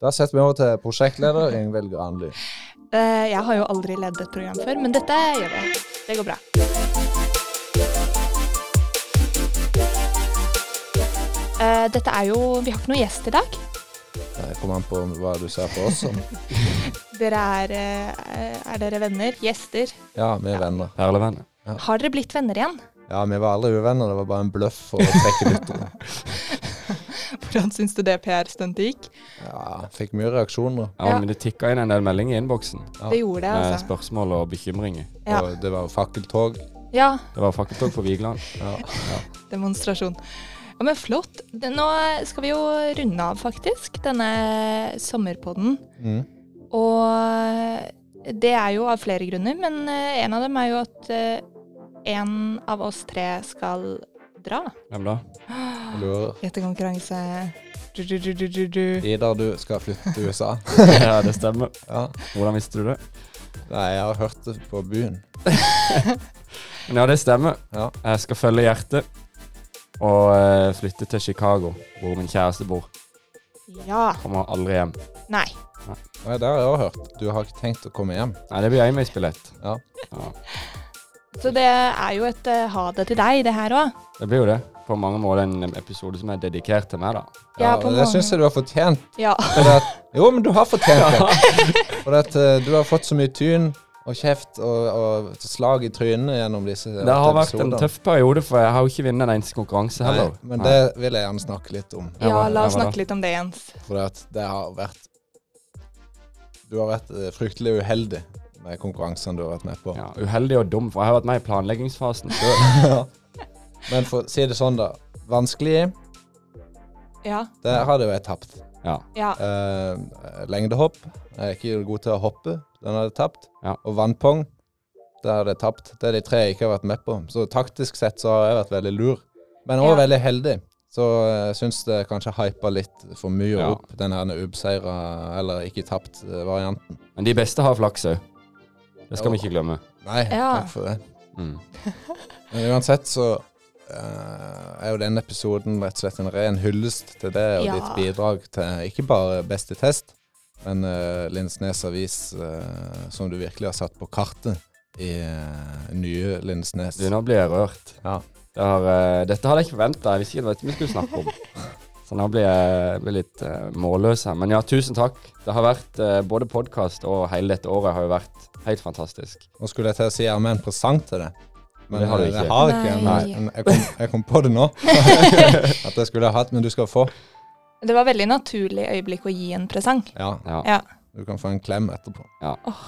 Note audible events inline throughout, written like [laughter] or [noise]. Da setter vi over til prosjektleder Ingvild Granly. Eh, Jeg har jo aldri ledet et program før, men dette gjør jeg. Det går bra. Eh, Dette er jo Vi har ikke noen gjest i dag. Det kommer an på hva du ser på oss som. Dere er eh, Er dere venner? Gjester? [laughs] Ja, vi er venner. Perlevenn. Har dere blitt venner igjen? Ja, vi var aldri uvenner, det var bare en bløff for å trekke [laughs] lyttere. [laughs] Hvordan syns du det PR-stuntet gikk? Ja, fikk mye reaksjoner. Ja, Ja. men det tikka inn en del meldinger i innboksen Ja. Det gjorde det, med altså. spørsmål og bekymringer. Ja. Og det var jo fakkeltog. Ja, Det var fakkeltog for Vigeland. Ja. demonstrasjon. Ja, Men flott. Det- Nå skal vi jo runde av, faktisk, denne sommerpodden. Mm. Og det er jo av flere grunner, men eh, en av dem er jo at eh, en av oss tre skal dra Hvem da? Jeg Lurer. etter konkurranse. Du, du, du, du, du, du. Idar, du skal flytte til USA. [laughs] ja, det stemmer. [laughs] Ja. Hvordan visste du det? Nei, jeg har hørt det på byen. Men ja, det stemmer. Ja. Jeg skal følge hjertet og eh, flytte til Chicago, hvor min kjæreste bor. Ja. Kommer aldri hjem. Nei. Nei, det har jeg også hørt. Du har ikke tenkt å komme hjem. Nei, det blir øyebillett. Ja. Ja. Så det er jo et eh, ha det til deg, det her òg. Det blir jo det. På mange måter en episode som er dedikert til meg, da. Ja, Ja, på og det mange- syns jeg du har fortjent. Ja. Fordi at, [laughs] jo, men du har fortjent det. For at eh, du har fått så mye tyn og kjeft og, og slag i trynet gjennom disse Det har vært en tøff periode, for jeg har jo ikke vunnet en eneste konkurranse Nei, heller. men Nei. det vil jeg gjerne snakke litt om. Jeg ja, var- la jeg oss var snakke litt om det, Jens. For at det har vært Du har vært eh, fryktelig uheldig med konkurransene du har vært med på. ja, uheldig og dum, for jeg har vært med i planleggingsfasen sjøl. Men for å si det sånn, da. Vanskelig, Ja. det hadde jo jeg tapt. Ja. ja. Eh, lengdehopp, jeg er ikke god til å hoppe, den hadde jeg tapt. Ja. Og vannpong, det hadde jeg tapt. Det er de tre jeg ikke har vært med på. Så taktisk sett så har jeg vært veldig lur, men òg Ja. veldig heldig. Så jeg syns det kanskje hypa litt for mye Ja. opp, den her ubeseira eller ikke eh, tapt-varianten. Men de beste har flaks òg. Det skal Ja. vi ikke glemme. Nei, Ja. takk for det. Mm. Men uansett så eh, er jo denne episoden rett og slett en ren hyllest til det og Ja. ditt bidrag til ikke bare Best i test, men eh, Lindesnes Avis, eh, som du virkelig har satt på kartet i eh, nye Lindesnes. Du, nå blir jeg rørt. Ja. Det har, eh, dette hadde jeg ikke forventa. Jeg visste ikke hva vi skulle snakke om. Så nå blir jeg blir litt eh, målløs her. Men ja, tusen takk. Det har vært eh, både podkast og hele dette året har jo vært helt fantastisk. Nå skulle jeg til å si jeg har med en presang til deg. Men Det har du eh, ikke. Jeg har ikke en, Nei. men jeg, kom, jeg kom på det [laughs] nå. At jeg skulle ha hatt, men du skal få. Det var veldig naturlig øyeblikk å gi en presang. Ja, Ja, Ja, Du kan få en klem etterpå.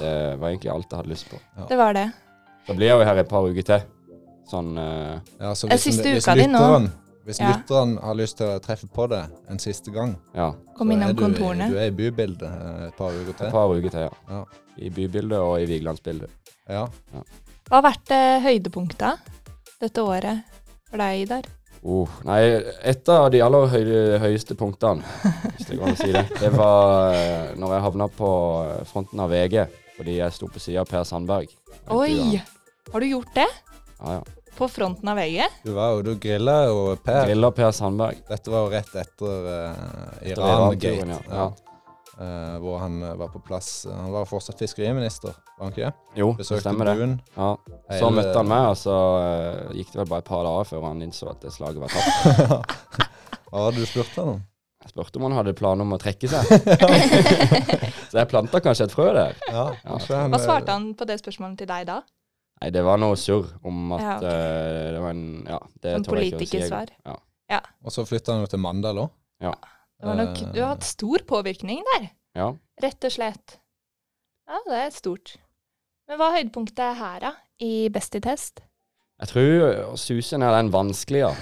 Det var egentlig alt jeg hadde lyst på. det var det. Da blir jeg jo her i et par uker til. Sånn eh, Ja, så Det er hvis, siste hvis uka di nå. lytteren, hvis Ja. lytteren har lyst til å treffe på det en siste gang ja, Kom Så er du innom i- kontorene. Du er i bybildet eh, et par uker et til. par uker til, ja. Ja. I bybildet og i Vigelandsbildet. Ja. Hva har vært eh, høydepunkta dette året for deg, Idar? Uh, nei, et av de aller høy, høyeste punktene, hvis det går an å si det, det var eh, når jeg havna på eh, fronten av VG fordi jeg sto på sida av Per Sandberg. Oi! Har du gjort det? Ja, ja. På fronten av VG? Du var jo, du grilla jo Per. Grilla Per Sandberg. Dette var jo rett etter eh, Etter Iran-gate. Iran-turen, ja. ja. Eh, hvor han eh, var på plass. Han var fortsatt fiskeriminister, var han ikke det? Jo, det Besøkte stemmer det. buen. Ja. Så Hele- møtte han meg, og så eh, gikk det vel bare et par dager før han innså at det slaget var tapt. Hva hadde du spurt han om? Jeg spurte om han hadde planer om å trekke [laughs] seg. så jeg planta kanskje et frø der. Ja, kanskje han, eh, Hva svarte han på det spørsmålet til deg da? Nei, det var noe surr om at Ja, ok. eh, det var en Ja, det Som tør jeg ikke å si. politikersvar. Og så flytta han jo til Mandal òg. Ja. Det var nok, du har hatt stor påvirkning der, Ja. rett og slett. Ja, det er stort. Men hva er høydepunktet her, da? I Best i test? Jeg tror eh, å suse ned den vanskelige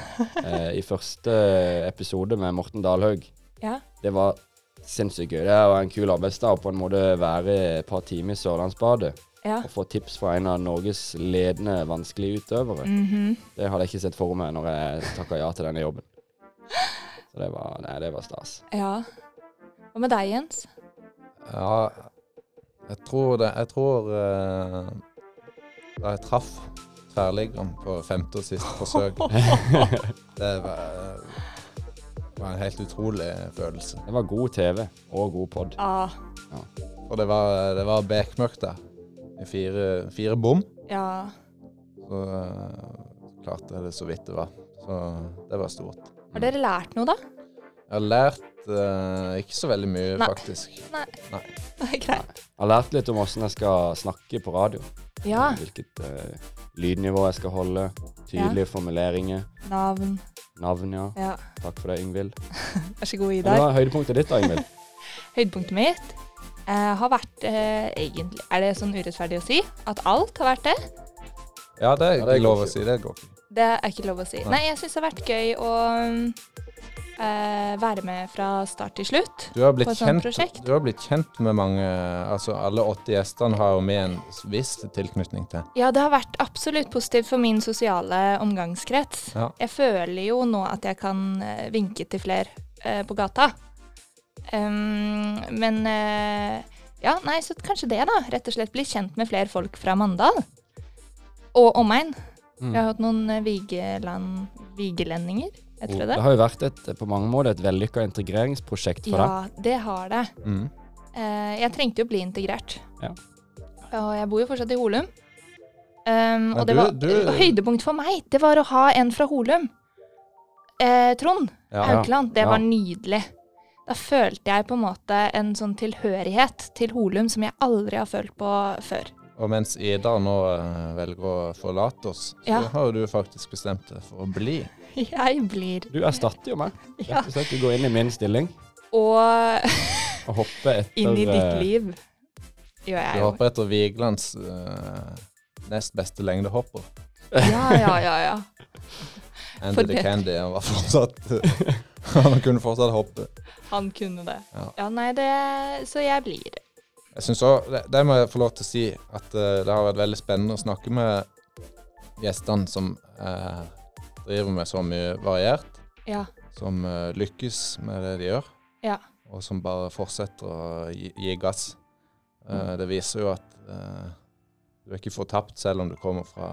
eh, i første episode med Morten Dalhaug. Ja. Det var sinnssykt gøy. Det var en kul arbeidsdag å på en måte være et par timer i Sørlandsbadet Ja. og få tips fra en av Norges ledende vanskelige utøvere. Mhm. Det hadde jeg ikke sett for meg når jeg takka ja til denne jobben. Så det var, nei, det var stas. ja. Hva med deg, Jens? Ja, jeg tror det Jeg tror eh, Da jeg traff [laughs] tverrliggeren på femte og siste forsøk Det var, var var en helt utrolig følelse. Det var god TV og god pod. Ah, Og det var, det var bekmørkt der. Med Fire, fire bom. ja. Så eh, klarte jeg det så vidt det var. Så det var stort. Har dere lært noe, da? [laughs] Jeg har lært eh, ikke så veldig mye, Nei. faktisk. Nei. Nei. Det er greit. Jeg har lært litt om åssen jeg skal snakke på radio. Ja. Hvilket eh, lydnivå jeg skal holde. Tydelige formuleringer. Navn. Navn, ja. Ja. Takk for det, Yngvild. Vær så god, Men Hva Idar. er høydepunktet ditt, da, Yngvild? Høydepunktet mitt eh, har vært eh, egentlig Er det sånn urettferdig å si at alt har vært det? Ja, det er Ja, ikke det går lov å ikke. si. Det går ikke. Det er ikke lov å si. Nei. Nei, jeg syns det har vært gøy å mm, eh, være med fra start til slutt. Du har, På blitt et sånt kjent, prosjekt? du har blitt kjent med mange Altså, alle 80 gjestene har jo med en viss tilknytning til. Ja, det har vært absolutt positivt for min sosiale omgangskrets. Ja. Jeg føler jo nå at jeg kan eh, vinke til flere eh, på gata. Um, men eh, ja, nei, så kanskje det, da. Rett og slett bli kjent med flere folk fra Mandal. Og omegn. Vi har hatt noen eh, Vigeland, vigelendinger, [laughs] jeg tror det. Det har jo vært et, på mange måter et vellykka integreringsprosjekt for Ja, det har det. Mm. Eh, jeg trengte jo bli integrert. Ja. Og jeg bor jo fortsatt i Holum. Um, Men og det du- var du- høydepunkt for meg. Det var å ha en fra Holum. Eh, Trond Ja. Haukeland. Det ja. var nydelig. Da følte jeg på en måte en sånn tilhørighet til Holum som jeg aldri har følt på før. [laughs] Og mens Idar nå eh, velger å forlate oss, så Ja. har jo du faktisk bestemt deg for å bli. Jeg blir deg. Du erstatter jo meg. Ja. Rett og slett, du går inn i min stilling Og og hopper etter inn i ditt eh, liv gjør Du jeg jo. hopper etter Vigelands eh, nest beste lengdehopper. [laughs] Ja, ja, ja. ja. Andy For the det- Candy han var fortsatt [laughs] Han kunne fortsatt hoppe. Han kunne det. Ja. Ja, nei, det Så jeg blir Jeg synes også, det, det må jeg få lov til å si, at eh, det har vært veldig spennende å snakke med gjestene som eh, driver med så mye variert, Ja. som eh, lykkes med det de gjør, Ja. og som bare fortsetter å gi, gi gass. Eh, det viser jo at eh, du er ikke fortapt selv om du kommer fra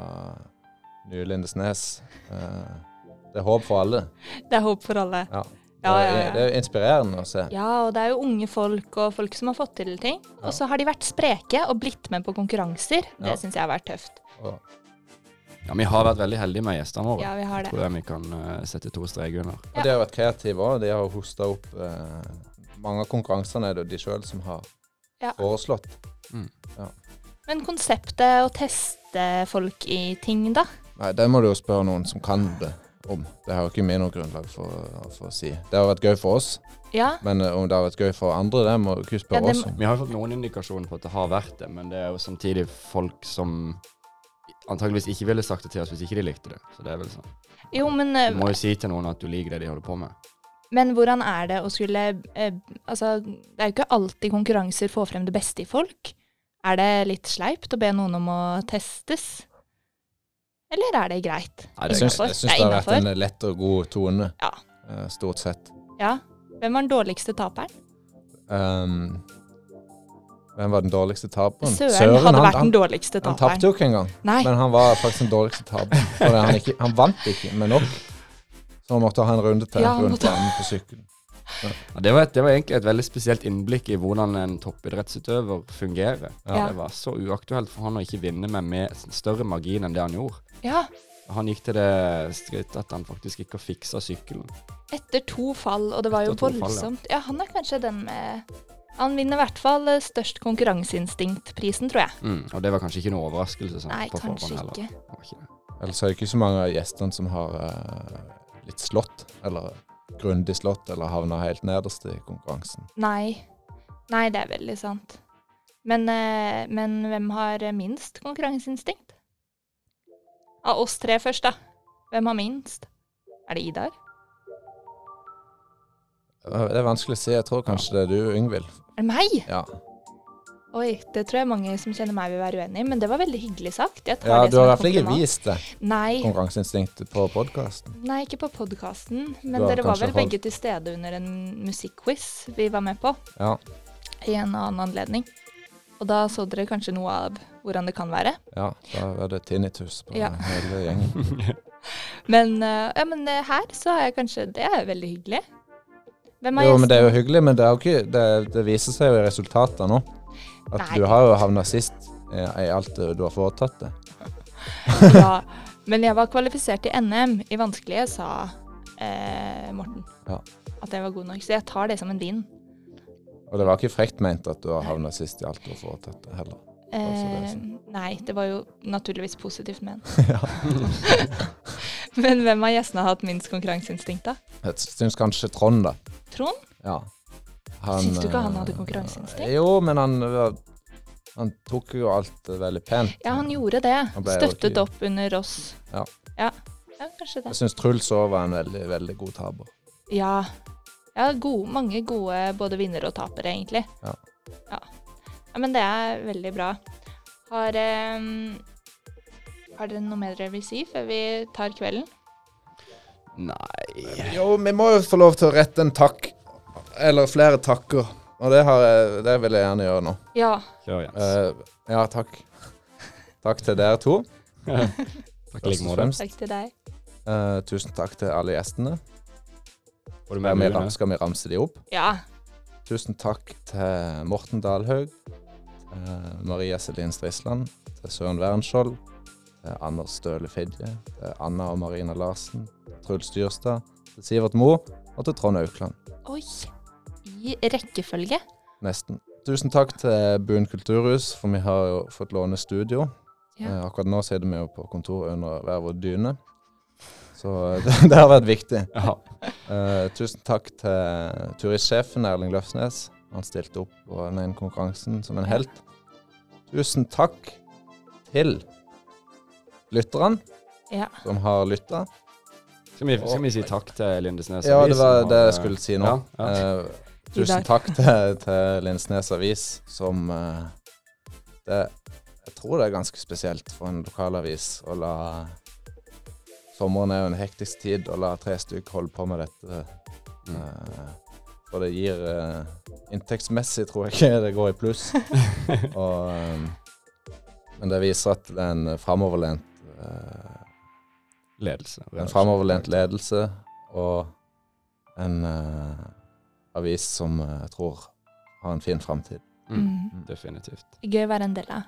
nye Lindesnes. Eh, det er håp for alle. Det er håp for alle. Ja. Ja, det, ja, er, ja. det er inspirerende å se. Ja, og det er jo unge folk og folk som har fått til ting. Ja. Og så har de vært spreke og blitt med på konkurranser. Ja. Det syns jeg har vært tøft. Og, Ja, vi har vært veldig heldige med gjestene våre. Ja, vi har det. Tror jeg vi kan eh, sette to streker under. Og de har vært kreative òg. De har hosta opp eh, mange av konkurransene er det de sjøl som har Ja. foreslått. Men konseptet å teste folk i ting, da? Nei, det må du jo spørre noen som kan det om. Det har jo ikke vi noe grunnlag for, for å si. Det har vært gøy for oss, Ja. men eh, om det har vært gøy for andre, det må du ikke spørre Ja, det oss må- om. Vi har jo fått noen indikasjoner på at det har vært det, men det er jo samtidig folk som antageligvis ikke ville sagt det til oss hvis ikke de likte det. Så det er vel sånn. Jo, men, eh, Du må jo si til noen at du liker det de holder på med. men hvordan er det å skulle eh, Altså, det er jo ikke alltid konkurranser får frem det beste i folk. Er det litt sleipt å be noen om å testes? Eller er det greit? Nei, det Jeg er syns, greit. innenfor. jeg syns Det det har er vært en eh, innenfor. lett og god tone, Ja. eh, stort sett. Ja. Hvem var den dårligste taperen? Ehm, hvem var den dårligste taperen? Søren, hadde Sånn, han, vært han, den dårligste han taperen. tapte jo ikke engang. Nei. Men han var faktisk den dårligste [laughs] taperen. fordi Han, ikke- han vant ikke med nok. Så han måtte ha en runde til Ja, han rundt måtte- banen på sykkelen. Ja, det, var et, det var egentlig et veldig spesielt innblikk i hvordan en toppidrettsutøver fungerer. Ja. Det var så uaktuelt for han å ikke vinne med, med større margin enn det han gjorde. Ja. Han gikk til det skrittet at han faktisk ikke fiksa sykkelen. Etter to fall, og det var jo Etter to fall, ja. voldsomt. ja. han er kanskje den med Han vinner i hvert fall eh, størst konkurranseinstinktprisen, tror jeg. Mm. Og det var kanskje ikke noe overraskelse sånn, Nei, på kanskje forhånd heller. ikke. Det var ikke det. Ellers er det ikke så mange av gjestene som har eh, litt slått, eller grundig slått, eller havna helt nederst i konkurransen. Nei. Nei, det er veldig sant. Men, eh, men hvem har eh, minst konkurranseinstinkt? Av oss tre først, da. Hvem har minst? Er det Idar? Eh, Det er vanskelig å si. Jeg tror kanskje det er du, Yngvild. Er det meg? Ja. Oi, det tror jeg mange som kjenner meg vil være uenig i, men det var veldig hyggelig sagt. Jeg tar ja det du har som i en hvert fall ikke kompliment. vist det Nei. konkurranseinstinktet på podkasten. Nei, ikke på podkasten, men Du har dere var kanskje vel holdt- begge til stede under en musikkquiz vi var med på Ja. i en annen anledning. Og da så dere kanskje noe av hvordan det kan være. ja. Da var det tinnitus på Ja. hele [laughs] gjengen. Men, eh, ja, men eh, her så har jeg kanskje Det er veldig hyggelig. Hvem er Jo, men gjest? det er jo hyggelig, men det, er jo ikke, det, det viser seg jo i resultatene nå. At Nei. du har jo havna sist eh, i alt det du har foretatt det. [laughs] Ja. Men jeg var kvalifisert til NM i vanskelige, sa eh, Morten. Ja. At jeg var god nok. Så jeg tar det som en vin. Og det var ikke frekt ment at du har havna sist i alt du har foretatt det heller. Altså, det er Eh, sånn. nei, det var jo naturligvis [laughs] positivt ment. Ja. [laughs] Men hvem av gjestene har hatt minst konkurranseinstinkt, da? Jeg syns kanskje Trond, da. Trond? Ja. Syns du ikke han eh, hadde konkurranseinstinkt? Jo, men han, eh, han tok jo alt eh, veldig pent. Ja, han gjorde det. Han ble jo Støttet ikke- opp under oss. Ja. Ja, ja kanskje det. Jeg syns Truls òg var en veldig, veldig god taper. Ja. ja gode, mange gode både vinnere og tapere, egentlig. Ja. ja. Ja, men det er veldig bra. Har, ehm, har dere noe mer dere vil si før vi tar kvelden? Nei Jo, vi må jo få lov til å rette en takk. Eller flere takker. Og det, har jeg, det vil jeg gjerne gjøre nå. Ja. Kjør, Jens. Eh, ja, takk. Takk til dere to. Takk i like først og måte. fremst. Takk til deg. Eh, tusen takk til alle gjestene. Får Skal du med vi, muene? skal vi ramse de opp? Ja. Tusen takk til Morten Dalhaug, eh, Maria Selin Strisland, til Søren Wernskjold, til Anders Støle Fidje, til Anna og Marina Larsen, Truls Dyrstad, til Sivert Moe og til Trond Aukland. Oi. I rekkefølge. Nesten. Tusen takk til Buen kulturhus, for vi har jo fått låne studio. Ja. Eh, Akkurat nå sitter vi jo på kontor under hver vår dyne, så eh, [laughs] det, det har vært viktig. Ja. Eh, tusen takk til turistsjefen Erling Løfsnes. Han stilte opp på den ene konkurransen som en helt. Tusen takk til lytterne Ja. som har lytta. Skal, vi, skal vi si takk til Lindesnes? Ja, det Avis, var som det har- jeg skulle si nå. eh, Ja, ja. Eh, I tusen dag. takk til, til Lindsnes Avis, som eh, det, Jeg tror det er ganske spesielt for en lokalavis å la Sommeren er jo en hektisk tid å la tre stykker holde på med dette. Eh, Mm. for det gir eh, Inntektsmessig tror jeg ikke det går i pluss. [laughs] Og, eh, men det viser at det er en framoverlent eh, Ledelse. en framoverlent ledelse og en eh, avis som eh, jeg tror har en fin framtid. Mm. Mm. Definitivt. Gøy å være en del av.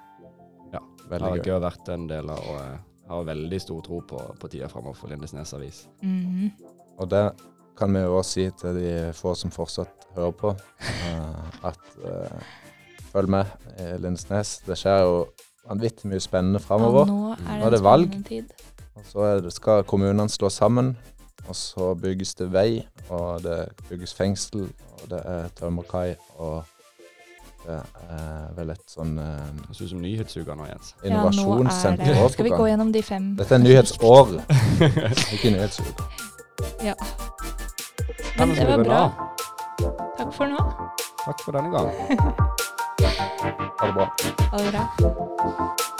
Det har Veldig gøy. gøy å vært en del av, og eh, har veldig stor tro på, på tida framover for Lindesnes Avis. Mhm. Og det kan vi jo også si til de få som fortsatt hører på, eh, at eh, følg med i Lindesnes. Det skjer jo vanvittig mye spennende Og framover. nå er det, Nå er det en valg. spennende Tid. Og så er det, skal kommunene slå sammen, og så bygges det vei, og det bygges fengsel, og det er tømmerkai, og det er vel et sånn eh, Det ser ut som nyhetsuga nå, Jens. Ja, Innovasjonssenter nå er det. også Skal vi på gå gang. gjennom de fem? Dette er [laughs] nyhetsår, ikke nyhetsuke. Ja. Men det var bra. Takk for nå. Takk for denne gang. Ha det bra. Ha det bra.